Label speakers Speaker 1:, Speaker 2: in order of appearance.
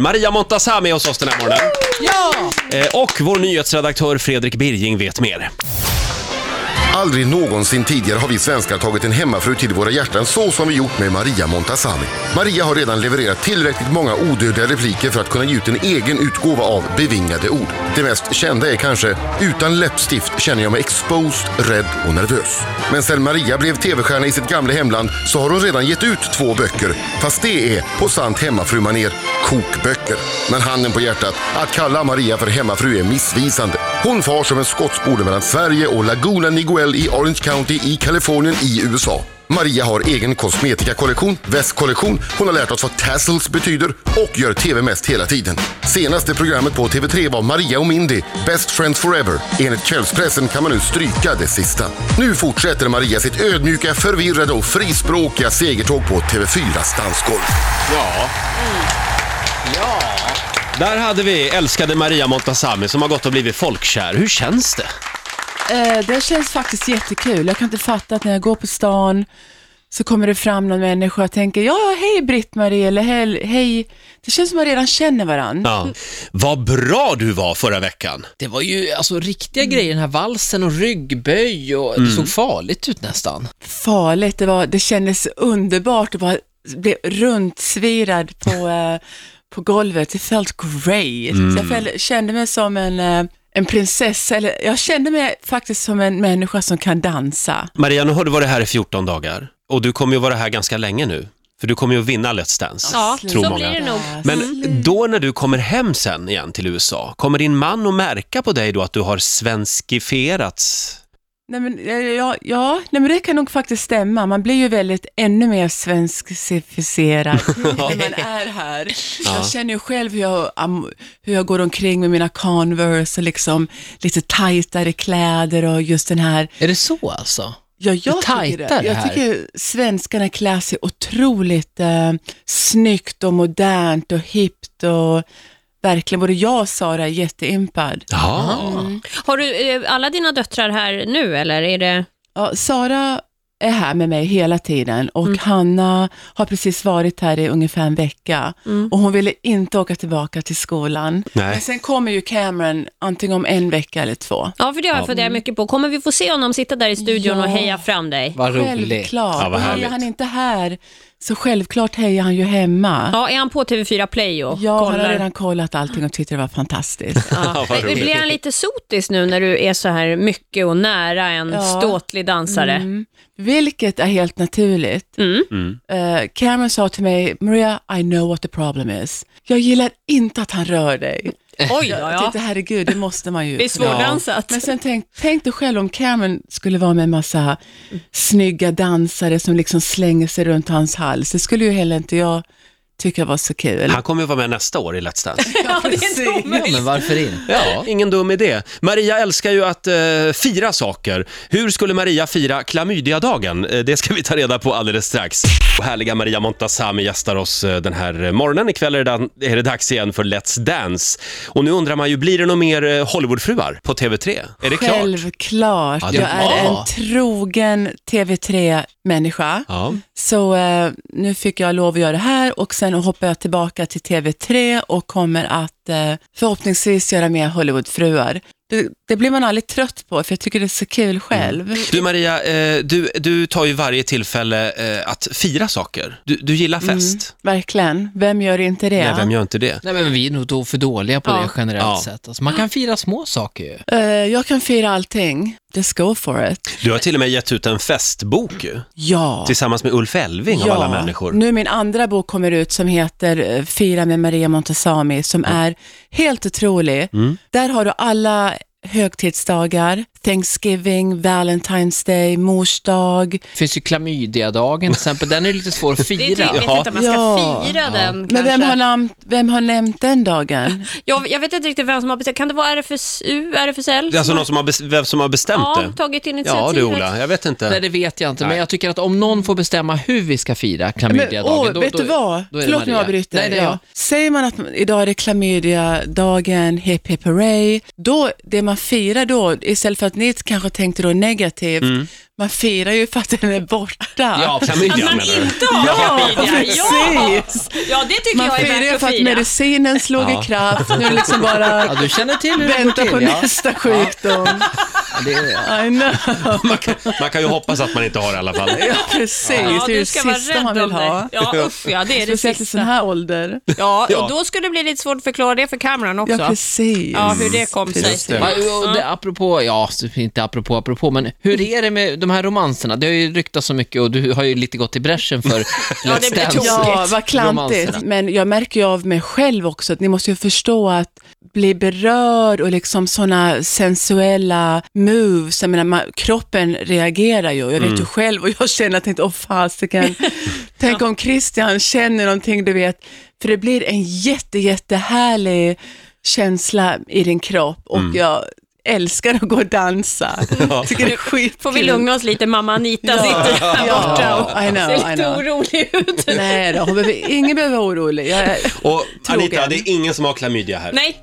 Speaker 1: Maria Montazami med hos oss den här morgonen.
Speaker 2: Ja!
Speaker 1: Eh, Och vår nyhetsredaktör Fredrik Birging vet mer.
Speaker 3: Aldrig någonsin tidigare har vi svenskar tagit en hemmafru till våra hjärtan så som vi gjort med Maria Montazami. Maria har redan levererat tillräckligt många odödliga repliker för att kunna ge ut en egen utgåva av bevingade ord. Det mest kända är kanske “Utan läppstift känner jag mig exposed, rädd och nervös”. Men sen Maria blev tv-stjärna i sitt gamla hemland så har hon redan gett ut två böcker. Fast det är, på sant hemmafrumanér, kokböcker. Men handen på hjärtat, att kalla Maria för hemmafru är missvisande. Hon far som en skottspole mellan Sverige och Laguna Niguel i Orange County i Kalifornien i USA. Maria har egen kosmetikakollektion, västkollektion, hon har lärt oss vad tassels betyder och gör TV mest hela tiden. Senaste programmet på TV3 var Maria och Mindy, Best Friends Forever. Enligt kvällspressen kan man nu stryka det sista. Nu fortsätter Maria sitt ödmjuka, förvirrade och frispråkiga segertåg på TV4s dansgolv.
Speaker 1: Där hade vi älskade Maria Montazami som har gått och blivit folkkär. Hur känns det?
Speaker 2: Eh, det känns faktiskt jättekul. Jag kan inte fatta att när jag går på stan så kommer det fram någon människa och tänker, ja, ja, hej Britt-Marie, eller hej, hej. Det känns som att man redan känner varandra.
Speaker 1: Ja. Vad bra du var förra veckan.
Speaker 4: Det var ju alltså riktiga grejer, den här valsen och ryggböj och det såg farligt ut nästan.
Speaker 2: Farligt, det, var, det kändes underbart att bara bli runtsvirad på, eh, på golvet. It felt great. Så
Speaker 1: Mm.
Speaker 2: jag fäll- kände mig som en, eh, en prinsessa, eller jag kände mig faktiskt som en människa som kan dansa.
Speaker 1: Maria, nu har du varit här i 14 dagar och du kommer ju vara här ganska länge nu. För du kommer ju att vinna Let's Dance.
Speaker 5: Ja,
Speaker 2: Tror
Speaker 5: så
Speaker 1: många.
Speaker 5: blir det Mm. nog.
Speaker 1: Men då när du kommer hem sen igen till USA, kommer din man att märka på dig då att du har svenskifierats?
Speaker 2: Nej men, eh, ja, ja nej, men det kan nog faktiskt stämma. Man blir ju väldigt ännu mer svenskcificerad när man är här. Jag känner ju själv hur jag, am- hur jag går omkring med mina Converse och liksom lite tajtare kläder och just den här
Speaker 4: Är det så alltså?
Speaker 2: Ja, jag tycker
Speaker 4: tajtare
Speaker 2: det. Jag
Speaker 4: här.
Speaker 2: tycker svenskarna klär sig otroligt eh, snyggt och modernt och hippt och verkligen både jag och Sara är jätteimpad.
Speaker 1: Ja.
Speaker 5: Har du eh, alla dina döttrar här nu eller är det...
Speaker 2: Ja, Sara är här med mig hela tiden och Hanna har precis varit här i ungefär en vecka och hon ville inte åka tillbaka till skolan.
Speaker 1: Nej.
Speaker 2: Men sen kommer ju Cameron antingen om en vecka eller två.
Speaker 5: Ja, för det har jag funderat mycket på. Kommer vi få se honom sitta där i studion
Speaker 2: Ja.
Speaker 5: och heja fram dig?
Speaker 4: Vad roligt.
Speaker 2: Självklart.
Speaker 1: Ja, vad
Speaker 2: och
Speaker 1: härligt.
Speaker 2: är han inte här så självklart hejar han ju hemma.
Speaker 5: Ja, är han på TV4 Play och
Speaker 2: Jag har
Speaker 5: kollar?
Speaker 2: redan kollat allting och tyckte det var fantastiskt.
Speaker 5: Ja.
Speaker 1: Vad
Speaker 5: Men Blir han lite sotis nu när du är så här mycket och nära en
Speaker 2: Ja.
Speaker 5: ståtlig dansare?
Speaker 2: Mm. Vilket är helt naturligt.
Speaker 5: Mm.
Speaker 2: Eh, Cameron sa till mig, Maria, I know what the problem is. Jag gillar inte att han rör dig.
Speaker 5: Oj då,
Speaker 2: Jag
Speaker 5: ja.
Speaker 2: tänkte, herregud, det måste man ju.
Speaker 5: Det är svårdansat.
Speaker 2: Men sen tänk, tänk dig själv om Cameron skulle vara med en massa snygga dansare som liksom slänger sig runt hans hals. Det skulle ju heller inte jag tycka var så kul.
Speaker 1: Han kommer ju vara med nästa år i Let's Dance.
Speaker 2: Ja, det är inte
Speaker 4: Ja, men varför inte?
Speaker 1: Ja, ingen dum idé. Maria älskar ju att eh, fira saker. Hur skulle Maria fira klamydiadagen? Eh, det ska vi ta reda på alldeles strax. Och härliga Maria Montazami gästar oss eh, den här eh, morgonen. Ikväll är det, dan- är det dags igen för Let's Dance. Och nu undrar man ju, blir det några mer eh, Hollywoodfruar på TV3? Är det klart?
Speaker 2: Självklart.
Speaker 1: Ja, det
Speaker 2: jag är
Speaker 4: var.
Speaker 2: en trogen TV3-människa.
Speaker 1: Ja.
Speaker 2: Så eh, nu fick jag lov att göra det här och sen hoppar jag tillbaka till TV3 och kommer att eh, förhoppningsvis göra mer Hollywoodfruar. Det, det blir man aldrig trött på för jag tycker det är så kul själv.
Speaker 1: Du Maria, eh, du, du tar ju varje tillfälle eh, att fira saker. Du, du gillar fest.
Speaker 2: Verkligen. Vem gör inte det?
Speaker 1: Nej, vem gör inte det?
Speaker 4: Nej, men vi är nog då för dåliga på
Speaker 5: Ja.
Speaker 4: det generellt
Speaker 1: Ja.
Speaker 4: sett. Alltså, man kan fira små saker ju.
Speaker 2: Eh, jag kan fira allting. Just go for it.
Speaker 1: Du har till och med gett ut en festbok ju,
Speaker 2: Ja.
Speaker 1: tillsammans med Ulf Elving av alla människor.
Speaker 2: Nu min andra bok kommer ut som heter eh, Fira med Maria Montazami som är helt otrolig.
Speaker 1: Mm.
Speaker 2: Där har du alla högtidsdagar, Thanksgiving, Valentine's Day, mors dag.
Speaker 4: Det finns ju klamydiadagen till exempel, den är lite svår att
Speaker 5: Det är
Speaker 4: fira.
Speaker 5: jag vet inte om man ska
Speaker 2: Ja.
Speaker 5: fira den
Speaker 2: Men
Speaker 5: kanske.
Speaker 2: vem har, namn, vem har nämnt den dagen?
Speaker 5: jag, jag vet inte riktigt vem som har bestämt. Kan det vara RFSU, RFSL?
Speaker 1: Det är alltså någon som har bes- vem som har bestämt
Speaker 5: ja,
Speaker 1: det?
Speaker 5: tagit initiativet.
Speaker 1: Ja, du Ola, jag vet
Speaker 4: Nej,
Speaker 1: inte.
Speaker 4: det vet jag inte, men jag tycker att om någon får bestämma hur vi ska fira klamydiadagen,
Speaker 2: åh, vet du vad?
Speaker 4: då är det
Speaker 2: Förlåt om jag
Speaker 4: Maria.
Speaker 2: avbryter.
Speaker 4: Nej, det är jag.
Speaker 2: Säger man att idag är det klamydiadagen, hipp hipp hurray, då det man man firar då, istället för att ni kanske tänkte då negativt,
Speaker 4: Mm.
Speaker 2: man firar ju för att den är borta.
Speaker 1: Ja, klamydia
Speaker 5: Att man
Speaker 1: menar du?
Speaker 5: inte har klamydia. Ja.
Speaker 2: precis.
Speaker 5: ja, det tycker
Speaker 2: Man
Speaker 5: jag
Speaker 2: firar
Speaker 5: är
Speaker 2: ju
Speaker 5: värt
Speaker 2: för
Speaker 5: att
Speaker 2: att
Speaker 5: fira.
Speaker 2: medicinen slog
Speaker 1: Ja.
Speaker 2: i kraft, nu är det liksom bara
Speaker 4: Ja, du känner till hur det går
Speaker 2: vänta
Speaker 4: till,
Speaker 2: på
Speaker 4: ja.
Speaker 2: nästa sjukdom.
Speaker 4: Ja, det är...
Speaker 2: I know.
Speaker 1: Man kan, man kan ju hoppas att man inte har i alla fall.
Speaker 2: Ja, precis.
Speaker 5: Ja,
Speaker 2: det är
Speaker 5: du
Speaker 2: det
Speaker 5: ska vara
Speaker 2: sista man
Speaker 5: rädd om
Speaker 2: vill
Speaker 5: dig.
Speaker 2: ha.
Speaker 5: Ja, usch ja, det är det
Speaker 2: Speciellt i sån
Speaker 5: sista.
Speaker 2: här ålder.
Speaker 5: Ja,
Speaker 1: Ja.
Speaker 5: och då skulle det bli lite svårt att förklara det för kameran också.
Speaker 2: Ja, precis.
Speaker 5: Ja, hur det kom sig.
Speaker 2: Precis.
Speaker 4: Ja, och det, apropå, ja, inte apropå, apropå, men hur är det med de här romanserna? Det har ju ryktats så mycket och du har ju lite gått i bräschen för
Speaker 5: Ja, det
Speaker 4: Let's
Speaker 5: blir
Speaker 4: Dance.
Speaker 5: tokigt.
Speaker 2: Ja, vad klantigt.
Speaker 4: romanserna.
Speaker 2: Men jag märker ju av mig själv också att ni måste ju förstå att bli berörd och liksom sådana sensuella moves, jag menar, man, kroppen reagerar ju. Jag vet ju själv och jag känner att jag tänkte, åh fasiken, tänk om Christian känner någonting, du vet. För det blir en jätte, jättehärlig känsla i din kropp och jag älskar att gå och dansa. Jag tycker det är skitkul.
Speaker 5: Får vi lugna oss lite, mamma Anita sitter här
Speaker 2: Ja,
Speaker 5: borta och
Speaker 2: I know,
Speaker 5: ser
Speaker 2: I
Speaker 5: lite
Speaker 2: know.
Speaker 5: orolig ut.
Speaker 2: Nej då, hon behöver, ingen behöver vara orolig. Jag är
Speaker 1: Och Anita,
Speaker 2: Trogen.
Speaker 1: det är ingen som har klamydia här.
Speaker 5: Nej,